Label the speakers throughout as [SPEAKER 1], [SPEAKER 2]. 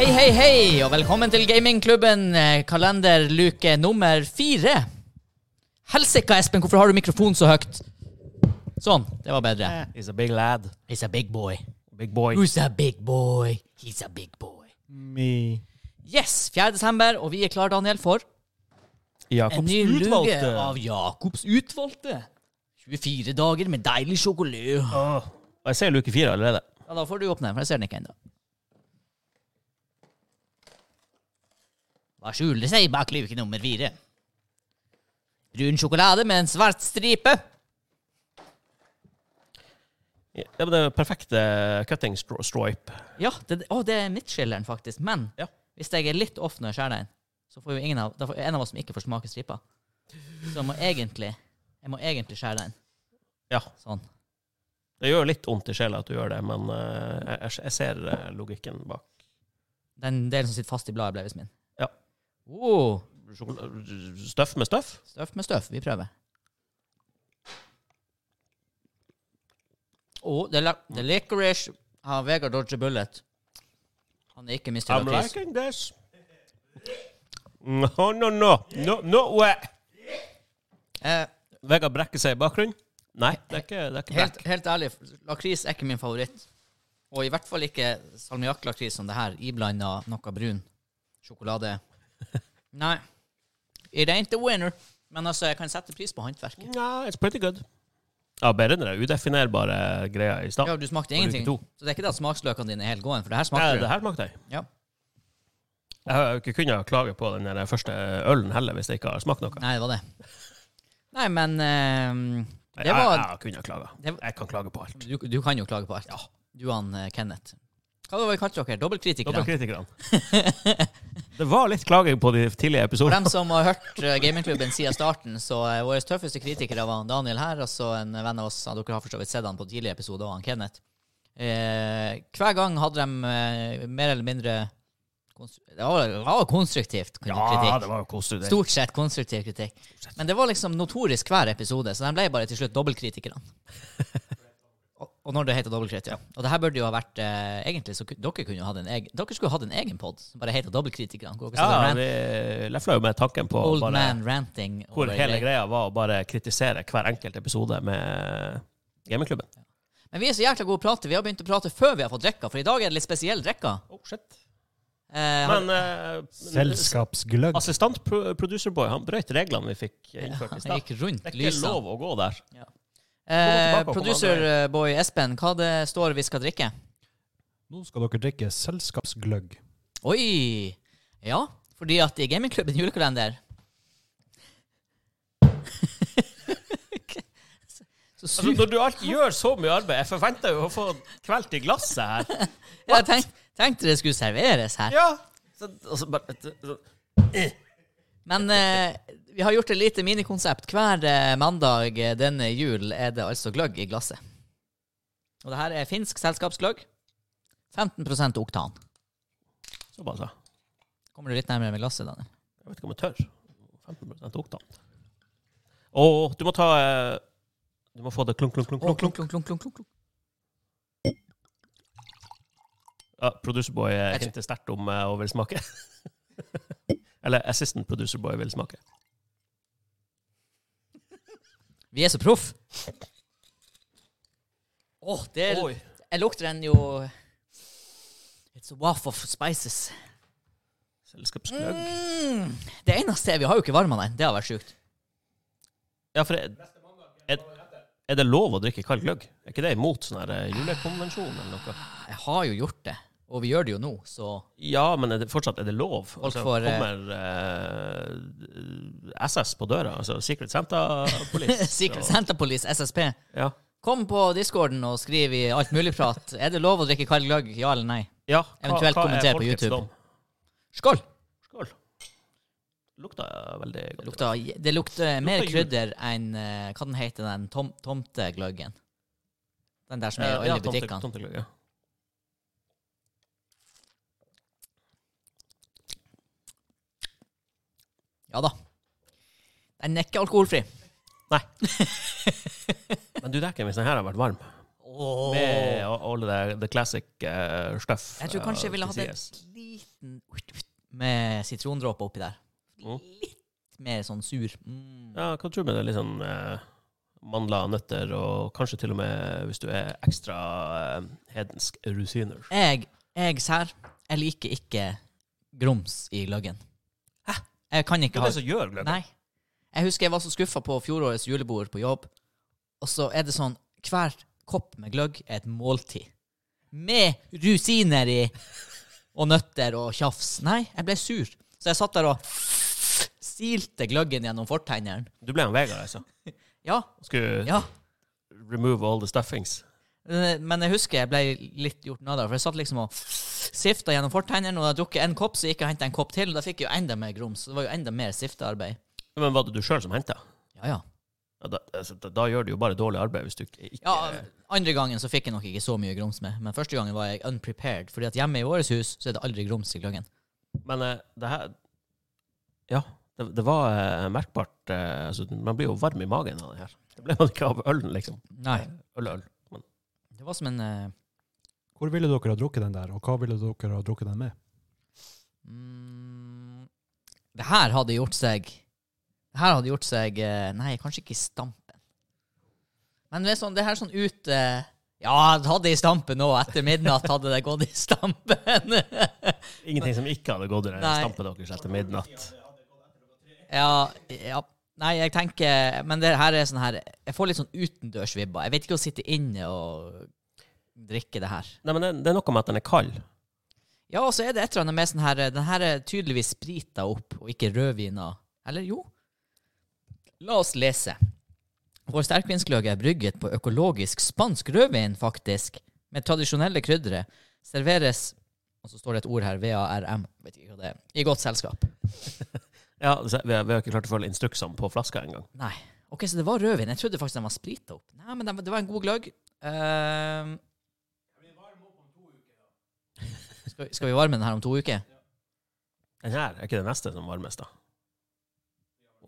[SPEAKER 1] hei, hei, og velkommen til gamingklubben eh, kalenderluke nummer fire. Helsika, Espen, hvorfor har du mikrofonen så høyt? Sånn, det var bedre.
[SPEAKER 2] He's a big lad.
[SPEAKER 1] He's a big boy.
[SPEAKER 2] Big boy.
[SPEAKER 1] Who's a big boy? He's a big boy.
[SPEAKER 2] Me.
[SPEAKER 1] Yes, 4. desember, og vi er klare, Daniel, for en
[SPEAKER 2] Jakobs
[SPEAKER 1] ny luke
[SPEAKER 2] utvalgte.
[SPEAKER 1] av Jakobs utvalgte. 24 dager med deilig sjokolade.
[SPEAKER 2] Åh. Og jeg ser luke fire allerede.
[SPEAKER 1] Ja, da får du åpne den, for jeg ser den ikke ennå. Hva skjuler seg bak luke nummer fire? Brun sjokolade med en svart stripe.
[SPEAKER 2] Ja, men det er perfekte cutting stro- stripe.
[SPEAKER 1] Ja, det, å, det er midtskilleren, faktisk. Men
[SPEAKER 2] Ja.
[SPEAKER 1] hvis jeg er litt off når jeg skjærer den, så får jo ingen av, da får en av oss som ikke får smake stripa. Så jeg må egentlig, jeg må egentlig skjære den.
[SPEAKER 2] Ja.
[SPEAKER 1] Sånn.
[SPEAKER 2] Det gjør litt vondt i sjela at du gjør det, men eh, jeg- jeg, jeg ser eh, logikken bak.
[SPEAKER 1] Den delen som sitter fast i bladet, ble visst min.
[SPEAKER 2] Ja.
[SPEAKER 1] Oh,
[SPEAKER 2] Sjokol- Støff med støff?
[SPEAKER 1] støff med støff. Vi prøver. Og the, la- the licorice har Vegard Dodge Bullet. Han er ikke Mr.
[SPEAKER 2] I'm
[SPEAKER 1] Lakis.
[SPEAKER 2] liking this. No, no, no. No, no way.
[SPEAKER 1] Eh,
[SPEAKER 2] Vegard brekker seg i bakgrunnen. Nei, det er ikke, det er ikke
[SPEAKER 1] helt,
[SPEAKER 2] brekk.
[SPEAKER 1] helt ærlig, lakris er ikke min favoritt. Og i hvert fall ikke salmiakklakris som det her, iblanda noe brun sjokolade. Nei. It ain't the winner. Men altså, jeg kan sette pris på håndverket.
[SPEAKER 2] Nei, it's pretty good. Ja, bedre enn det udefinerbare greia i stad.
[SPEAKER 1] Ja, du smakte
[SPEAKER 2] Og luke
[SPEAKER 1] ingenting.
[SPEAKER 2] to.
[SPEAKER 1] Så det er ikke det at smaksløkene dine er helt gåen, for det her
[SPEAKER 2] Ja,
[SPEAKER 1] smakte
[SPEAKER 2] det
[SPEAKER 1] du.
[SPEAKER 2] her smakte jeg.
[SPEAKER 1] Ja.
[SPEAKER 2] Jeg har jo ikke kunnet klage på den der første ølen heller, hvis jeg ikke har smakt noe.
[SPEAKER 1] Nei, det var det. Nei, men eh, det
[SPEAKER 2] Jeg, jeg
[SPEAKER 1] var
[SPEAKER 2] har kunnet klage.
[SPEAKER 1] det var-
[SPEAKER 2] Jeg kan klage på alt.
[SPEAKER 1] du, du kan jo klage på alt. Du og han eh, Kenneth. Hva var det vi kalte dere?
[SPEAKER 2] Dere
[SPEAKER 1] Dobbeltkritikere?
[SPEAKER 2] kritikerne. Det var litt klaging på de tidlige
[SPEAKER 1] For
[SPEAKER 2] episodene.
[SPEAKER 1] dem som har hørt eh, gamingklubben siden starten, så uh, våre tøffeste kritikere var han Daniel her, og så en venn av oss. ja, Dere har for så vidt sett han på tidligere episoder, og han Kenneth. Eh, hver gang hadde de eh, mer eller mindre konstru- det var, det var konstruktivt kun-
[SPEAKER 2] Ja,
[SPEAKER 1] kritikk.
[SPEAKER 2] det var jo koselig. det.
[SPEAKER 1] Stort sett konstruktiv kritikk. Men det var liksom notorisk hver episode, så de ble bare til slutt dobbeltkritikerne. Og, og når det heter dobbeltkritikere. Og det her burde jo ha vært eh, Egentlig så ku- dere kunne jo hatt en egen Dere skulle jo hatt en egen pod som bare heter Dobbeltkritikerne. Hvor dere sitter og
[SPEAKER 2] Ja,
[SPEAKER 1] rant-
[SPEAKER 2] vi lefla jo med tanken på
[SPEAKER 1] Old
[SPEAKER 2] bare,
[SPEAKER 1] man ranting.
[SPEAKER 2] hvor
[SPEAKER 1] over eh,
[SPEAKER 2] hele
[SPEAKER 1] det.
[SPEAKER 2] greia var å bare kritisere hver enkelt episode med gamingklubben.
[SPEAKER 1] Men vi er så jækla gode å prate. Vi har begynt å prate før vi har fått drikka, for i dag er det litt spesiell drikka.
[SPEAKER 2] Oh, shit.
[SPEAKER 1] Eh,
[SPEAKER 2] Men eh,
[SPEAKER 3] Selskapsgløgg.
[SPEAKER 2] assistant pro- producer boy, han brøt reglene vi fikk innført i
[SPEAKER 1] jeg
[SPEAKER 2] stad.
[SPEAKER 1] gikk rundt
[SPEAKER 2] Det er ikke
[SPEAKER 1] lysene.
[SPEAKER 2] lov å gå der.
[SPEAKER 1] Eh,
[SPEAKER 2] tilbake og kom
[SPEAKER 1] Producerboy Espen, hva det står vi skal drikke?
[SPEAKER 3] Nå skal dere drikke selskapsgløgg.
[SPEAKER 1] Oi! Ja, fordi at i gamingklubben julekalender Så
[SPEAKER 2] Altså,
[SPEAKER 1] sur.
[SPEAKER 2] når du alltid gjør så mye arbeid Jeg forventer jo å få kvelt i glasset her.
[SPEAKER 1] Jeg tenk, tenkte det skulle serveres her.
[SPEAKER 2] Ja. Så, altså, bare, så,
[SPEAKER 1] Men eh, vi har gjort et lite minikonsept. Hver eh, mandag eh, denne jul er det altså gløgg i glasset. Og det her er finsk selskapsgløgg. 15 oktan.
[SPEAKER 2] så bare så.
[SPEAKER 1] Kommer du litt nærmere med glasset, Daniel?
[SPEAKER 2] Jeg vet ikke om jeg tør. 15 oktan. Og du må ta eh, Du må få det klunk, klunk, klunk.
[SPEAKER 1] Å,
[SPEAKER 2] klunk,
[SPEAKER 1] klunk,
[SPEAKER 2] klunk.
[SPEAKER 1] klunk, klunk, klunk, klunk, klunk.
[SPEAKER 2] Ja, producerboy
[SPEAKER 1] Jeg tror-
[SPEAKER 2] hinter sterkt om eh, å vil smake. Eller assistant producerboy vil smake.
[SPEAKER 1] Vi er så proff. Å, det er,
[SPEAKER 2] Oi.
[SPEAKER 1] Jeg lukter den jo It's a waff of spices.
[SPEAKER 2] Selskapsgløgg.
[SPEAKER 1] Mm. Det eneste er Vi har jo ikke varma den. Det har vært sjukt.
[SPEAKER 2] Ja, for er, er, er det lov å drikke kald gløgg? Er ikke det imot sånn her eh, julekonvensjon eller noe?
[SPEAKER 1] Jeg har jo gjort det. Og vi gjør det jo nå, så
[SPEAKER 2] Ja, men er det, fortsatt er det lov?
[SPEAKER 1] Folk
[SPEAKER 2] altså,
[SPEAKER 1] får, eh,
[SPEAKER 2] kommer eh, SS på døra? Altså Secret Santa Police?
[SPEAKER 1] Secret
[SPEAKER 2] så-
[SPEAKER 1] Center Police, SSP.
[SPEAKER 2] Ja.
[SPEAKER 1] Kom på discorden og skriv i alt mulig prat. Er det lov å drikke kald gløgg? Ja eller nei?
[SPEAKER 2] ja hva-
[SPEAKER 1] Eventuelt
[SPEAKER 2] hva er
[SPEAKER 1] kommenter på
[SPEAKER 2] folkets
[SPEAKER 1] YouTube.
[SPEAKER 2] dom?
[SPEAKER 1] Skål!
[SPEAKER 2] Skål. Lukta veldig
[SPEAKER 1] Det
[SPEAKER 2] godt.
[SPEAKER 1] lukter, det lukter mer
[SPEAKER 2] jul.
[SPEAKER 1] krydder enn eh, Hva den heter den tom, tomtegløggen? Den der som er i alle
[SPEAKER 2] Eh, Ja, tomte-
[SPEAKER 1] butikkene.
[SPEAKER 2] tomtegløgg, ja.
[SPEAKER 1] Ja da. Den er ikke alkoholfri.
[SPEAKER 2] Men du, dekker hvis den her har vært
[SPEAKER 1] Å,
[SPEAKER 2] varm.
[SPEAKER 1] Åh.
[SPEAKER 2] Med a- all det der the classic eh, stuff.
[SPEAKER 1] Jeg tror kanskje jeg ville hatt en
[SPEAKER 2] det.
[SPEAKER 1] liten med sitrondråpe oppi der.
[SPEAKER 2] Mm.
[SPEAKER 1] Litt mer sånn sur. Mm.
[SPEAKER 2] Ja, hva tror du med det? Litt sånn eh, mandler, nøtter, og kanskje til og med, hvis du er ekstra eh, hedensk, rusiner.
[SPEAKER 1] Jeg, jeg sær, jeg liker ikke grums i gløggen. Hæ? Jeg kan ikke
[SPEAKER 2] Hva
[SPEAKER 1] ha
[SPEAKER 2] er det som gjør gløgg?
[SPEAKER 1] Nei. Jeg husker jeg var så skuffa på fjorårets julebord på jobb, og så er det sånn Hver kopp med gløgg er et måltid. Med rusiner i! Og nøtter og tjafs. Nei, jeg ble sur. Så jeg satt der og silte gløggen gjennom fortennene.
[SPEAKER 2] Du ble en vegan, altså.
[SPEAKER 1] Ja,
[SPEAKER 2] Skulle
[SPEAKER 1] ja.
[SPEAKER 2] remove all the stuffings.
[SPEAKER 1] Eh, Men jeg husker jeg ble litt gjort narr av, for jeg satt liksom og sifta gjennom fortennene, og da drukket en kopp, så gikk jeg og henta en kopp til, og da fikk jeg jo enda mer grums. Så det var jo enda mer siftearbeid.
[SPEAKER 2] Men var det du sjøl som henta?
[SPEAKER 1] Ja, ja.
[SPEAKER 2] Ja, da, altså, da, da gjør du jo bare dårlig arbeid hvis du ikke, ikke
[SPEAKER 1] Ja, andre gangen så fikk jeg nok ikke så mye grums med, men første gangen var jeg unprepared, fordi at hjemme i vårt hus så er det aldri grums i gløggen.
[SPEAKER 2] Men eh, det her Ja, det, det var eh, merkbart eh, altså, Man blir jo varm i magen av det her. Det ble man ikke av ølen, liksom.
[SPEAKER 1] Nei.
[SPEAKER 2] Øl, øl.
[SPEAKER 1] Det var som en eh,
[SPEAKER 3] Hvor ville dere ha drukket den der, og hva ville dere ha drukket den med?
[SPEAKER 1] mm, Det her hadde gjort seg Det her hadde gjort seg eh, Nei, kanskje ikke i stampen. Men det, er sånn, det her er sånn ut eh, Ja, det hadde i stampen nå. Etter midnatt hadde det gått i stampen.
[SPEAKER 2] Ingenting som ikke hadde gått i den
[SPEAKER 1] Nei.
[SPEAKER 2] stampen deres etter midnatt.
[SPEAKER 1] Ja, ja. Nei, jeg tenker Men det her er sånn her Jeg får litt sånn utendørsvibber. Jeg vet ikke å sitte inne og drikke det her.
[SPEAKER 2] Nei, men det, det er noe med at den er kald.
[SPEAKER 1] Ja, og så er det et eller annet med sånn her Den her er tydeligvis sprita opp, og ikke rødvina. Eller jo? La oss lese. Vår sterkvinsgløgg er brygget på økologisk spansk rødvin, faktisk, med tradisjonelle kryddere. Serveres Og så står det et ord her, VARM, vet ikke hva det er, i godt selskap.
[SPEAKER 2] Ja, så vi, har, vi har ikke klart å følge instruksene på flaska engang.
[SPEAKER 1] Nei. Ok, så det var rødvin. Jeg trodde faktisk den var sprita opp. Nei, men den, det var en god gløgg. Ehm. skal, skal vi varme den her om to uker?
[SPEAKER 2] Den her er ikke det neste som varmes, da.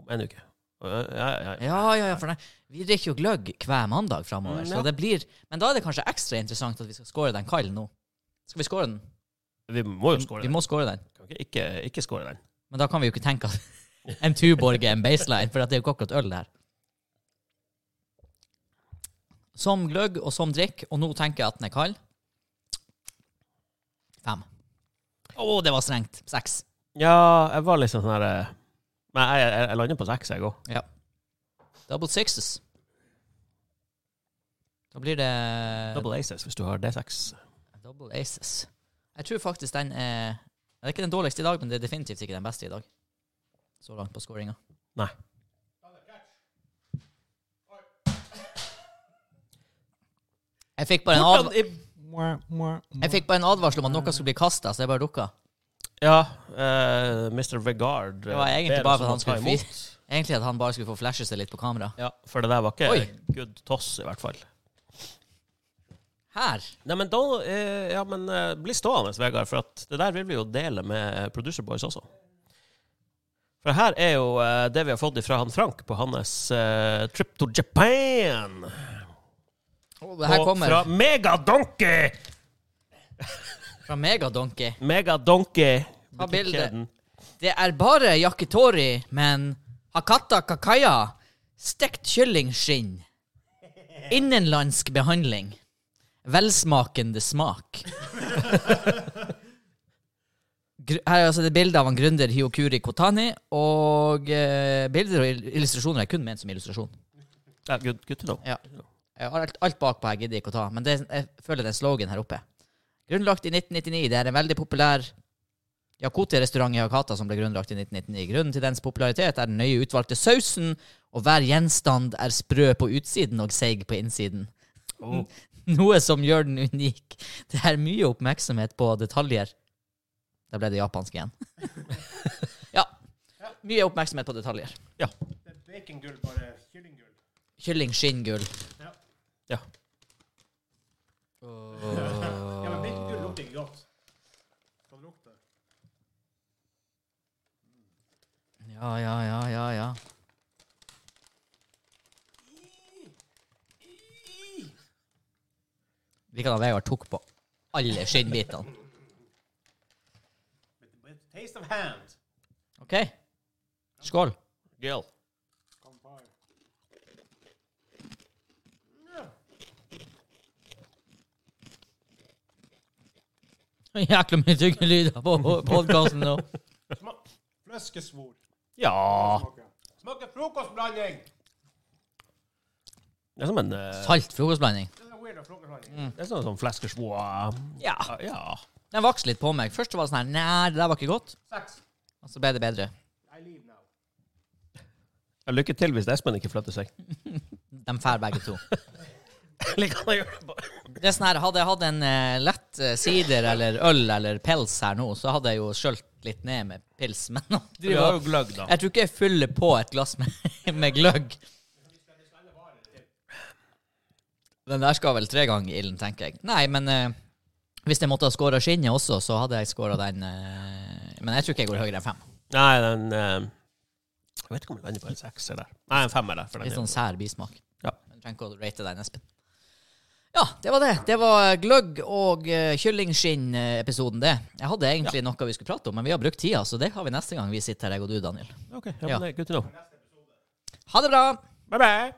[SPEAKER 2] Om en uke. Ja, ja, ja.
[SPEAKER 1] Ja, ja, ja. For nei, vi drikker jo gløgg hver mandag framover,
[SPEAKER 2] Mm,
[SPEAKER 1] så
[SPEAKER 2] ja.
[SPEAKER 1] det blir Men da er det kanskje ekstra interessant at vi skal skåre den kald nå. Skal vi skåre den?
[SPEAKER 2] Vi må jo skåre
[SPEAKER 1] Vi
[SPEAKER 2] den.
[SPEAKER 1] må skåre den.
[SPEAKER 2] Kan ikke, ikke, ikke skåre den.
[SPEAKER 1] Men da kan vi jo ikke tenke at en Tuborg er en baseline, for at det er jo ikke akkurat øl der. Som gløgg og som drikk, og nå tenker jeg at den er kald. Fem. Å, det var strengt. Seks.
[SPEAKER 2] Ja, jeg var liksom sånn her eh, Men jeg, jeg, jeg lander på seks, jeg òg.
[SPEAKER 1] Ja. Double sixes. Da blir det
[SPEAKER 2] Double aces hvis du har D6.
[SPEAKER 1] Double aces. Jeg tror faktisk den er Det er ikke den dårligste i dag, men det er definitivt ikke den beste i dag. Så langt på scoringa.
[SPEAKER 2] Nei.
[SPEAKER 1] Jeg fikk bare en advarsel.
[SPEAKER 3] Mwah, mwah, mwah.
[SPEAKER 1] Jeg fikk bare en advarsel om at noe skulle bli kasta, så jeg bare dukka.
[SPEAKER 2] Ja, eh, Mr. Vegard eh,
[SPEAKER 1] Det var egentlig bare for at han skulle Egentlig at han bare skulle få flashe seg litt på kamera.
[SPEAKER 2] Ja, for det der var ikke
[SPEAKER 1] Oi.
[SPEAKER 2] good toss, i hvert fall.
[SPEAKER 1] Her!
[SPEAKER 2] Nei, men da eh, Ja, men eh, bli stående, Vegard, for at det der vil vi jo dele med eh, Producer Boys også. For her er jo eh, det vi har fått ifra han Frank på hans eh, trip to Japan.
[SPEAKER 1] det her
[SPEAKER 2] Og
[SPEAKER 1] kommer
[SPEAKER 2] Fra
[SPEAKER 1] fra,
[SPEAKER 2] Megadonkey!
[SPEAKER 1] Megadonkey.
[SPEAKER 2] Megadonkey.
[SPEAKER 1] Ta bildet.
[SPEAKER 2] butikkjeden.
[SPEAKER 1] Det er bare yakitori, men hakata kakaya. Stekt kyllingskinn. Innenlandsk behandling. Velsmakende smak. Gr- Her er altså det bildet av en gründer Hiokuri Kotani, og eh, bilder og il- illustrasjoner er kun ment som illustrasjon.
[SPEAKER 2] Ja, good, good to know.
[SPEAKER 1] Ja. Jeg har Eh, alt, alt bakpå her gidder jeg ikke å ta, men det, jeg føler det er en slogan her oppe. Grunnlagt i 1999. Det er en veldig populær Yakuti-restaurant i Hakata som ble grunnlagt i 1999. Grunnen til dens popularitet er den nøye utvalgte sausen, og hver gjenstand er sprø på utsiden og seig på innsiden.
[SPEAKER 2] Oh.
[SPEAKER 1] Noe som gjør den unik. Det er mye oppmerksomhet på detaljer. Der ble det japansk igjen. ja. Mye oppmerksomhet på detaljer.
[SPEAKER 2] Ja.
[SPEAKER 4] Det er bacongull, bare kyllinggull.
[SPEAKER 1] Kylling, skinngull.
[SPEAKER 2] ja.
[SPEAKER 4] Ja, men bacongull lukter ikke godt. Kan lukte.
[SPEAKER 1] Ja, ja, ja, ja, ja. Liker at Vegard tok på alle skinnbitene.
[SPEAKER 4] With, with taste of hand.
[SPEAKER 1] OK. Skål.
[SPEAKER 2] Gøyal.
[SPEAKER 1] Jækla mye stygge lyder på podkasten nå.
[SPEAKER 4] Smak fløskesvor.
[SPEAKER 2] Ja
[SPEAKER 4] Smaker frokostblanding!
[SPEAKER 2] Det er som en eh,
[SPEAKER 1] Salt frokostblanding.
[SPEAKER 4] Det er weird av frokostblanding.
[SPEAKER 2] Det er som en sånn fleskersvå
[SPEAKER 1] Ja.
[SPEAKER 2] Ja.
[SPEAKER 1] Den vokste litt på meg. Først så var det sånn her Nei, det der var ikke godt.
[SPEAKER 4] Seks.
[SPEAKER 1] Og så ble det bedre.
[SPEAKER 4] I leave now.
[SPEAKER 2] Ja, Lykke til hvis Espen ikke flytter seg.
[SPEAKER 1] De drar begge to.
[SPEAKER 2] Eller kan jeg gjøre det bare?
[SPEAKER 1] Det er sånn her, Hadde jeg hatt en eh, lett eh, sider eller øl eller pils her nå, så hadde jeg jo skjølt litt ned med pils. Men nå
[SPEAKER 2] Vi
[SPEAKER 1] driver
[SPEAKER 2] har
[SPEAKER 1] jeg-
[SPEAKER 2] jo gløgg, da.
[SPEAKER 1] jeg tror ikke jeg fyller på et glass med, med gløgg. Den der skal vel tre ganger i ilden, tenker jeg. Nei, men eh, hvis jeg måtte ha skåra skinnet også, så hadde jeg skåra den eh, Men jeg tror ikke jeg går høyere enn fem.
[SPEAKER 2] Nei, den eh, Jeg vet ikke om den lander på en sekser der. Nei, en femmer der. For den
[SPEAKER 1] Litt
[SPEAKER 2] er-
[SPEAKER 1] sånn sær bismak.
[SPEAKER 2] Ja.
[SPEAKER 1] Jeg trenger ikke å rate deg, Espen. Ja, det var det. Det var gløgg og uh, kyllingskinn-episoden, det. Jeg hadde egentlig noe vi skulle prate om, men vi har brukt tida, så det har vi sånn- neste gang vi sitter her, jeg og du, Daniel.
[SPEAKER 2] OK. Ja, men det er good to know.
[SPEAKER 1] Ha det bra!
[SPEAKER 2] Bye, bye.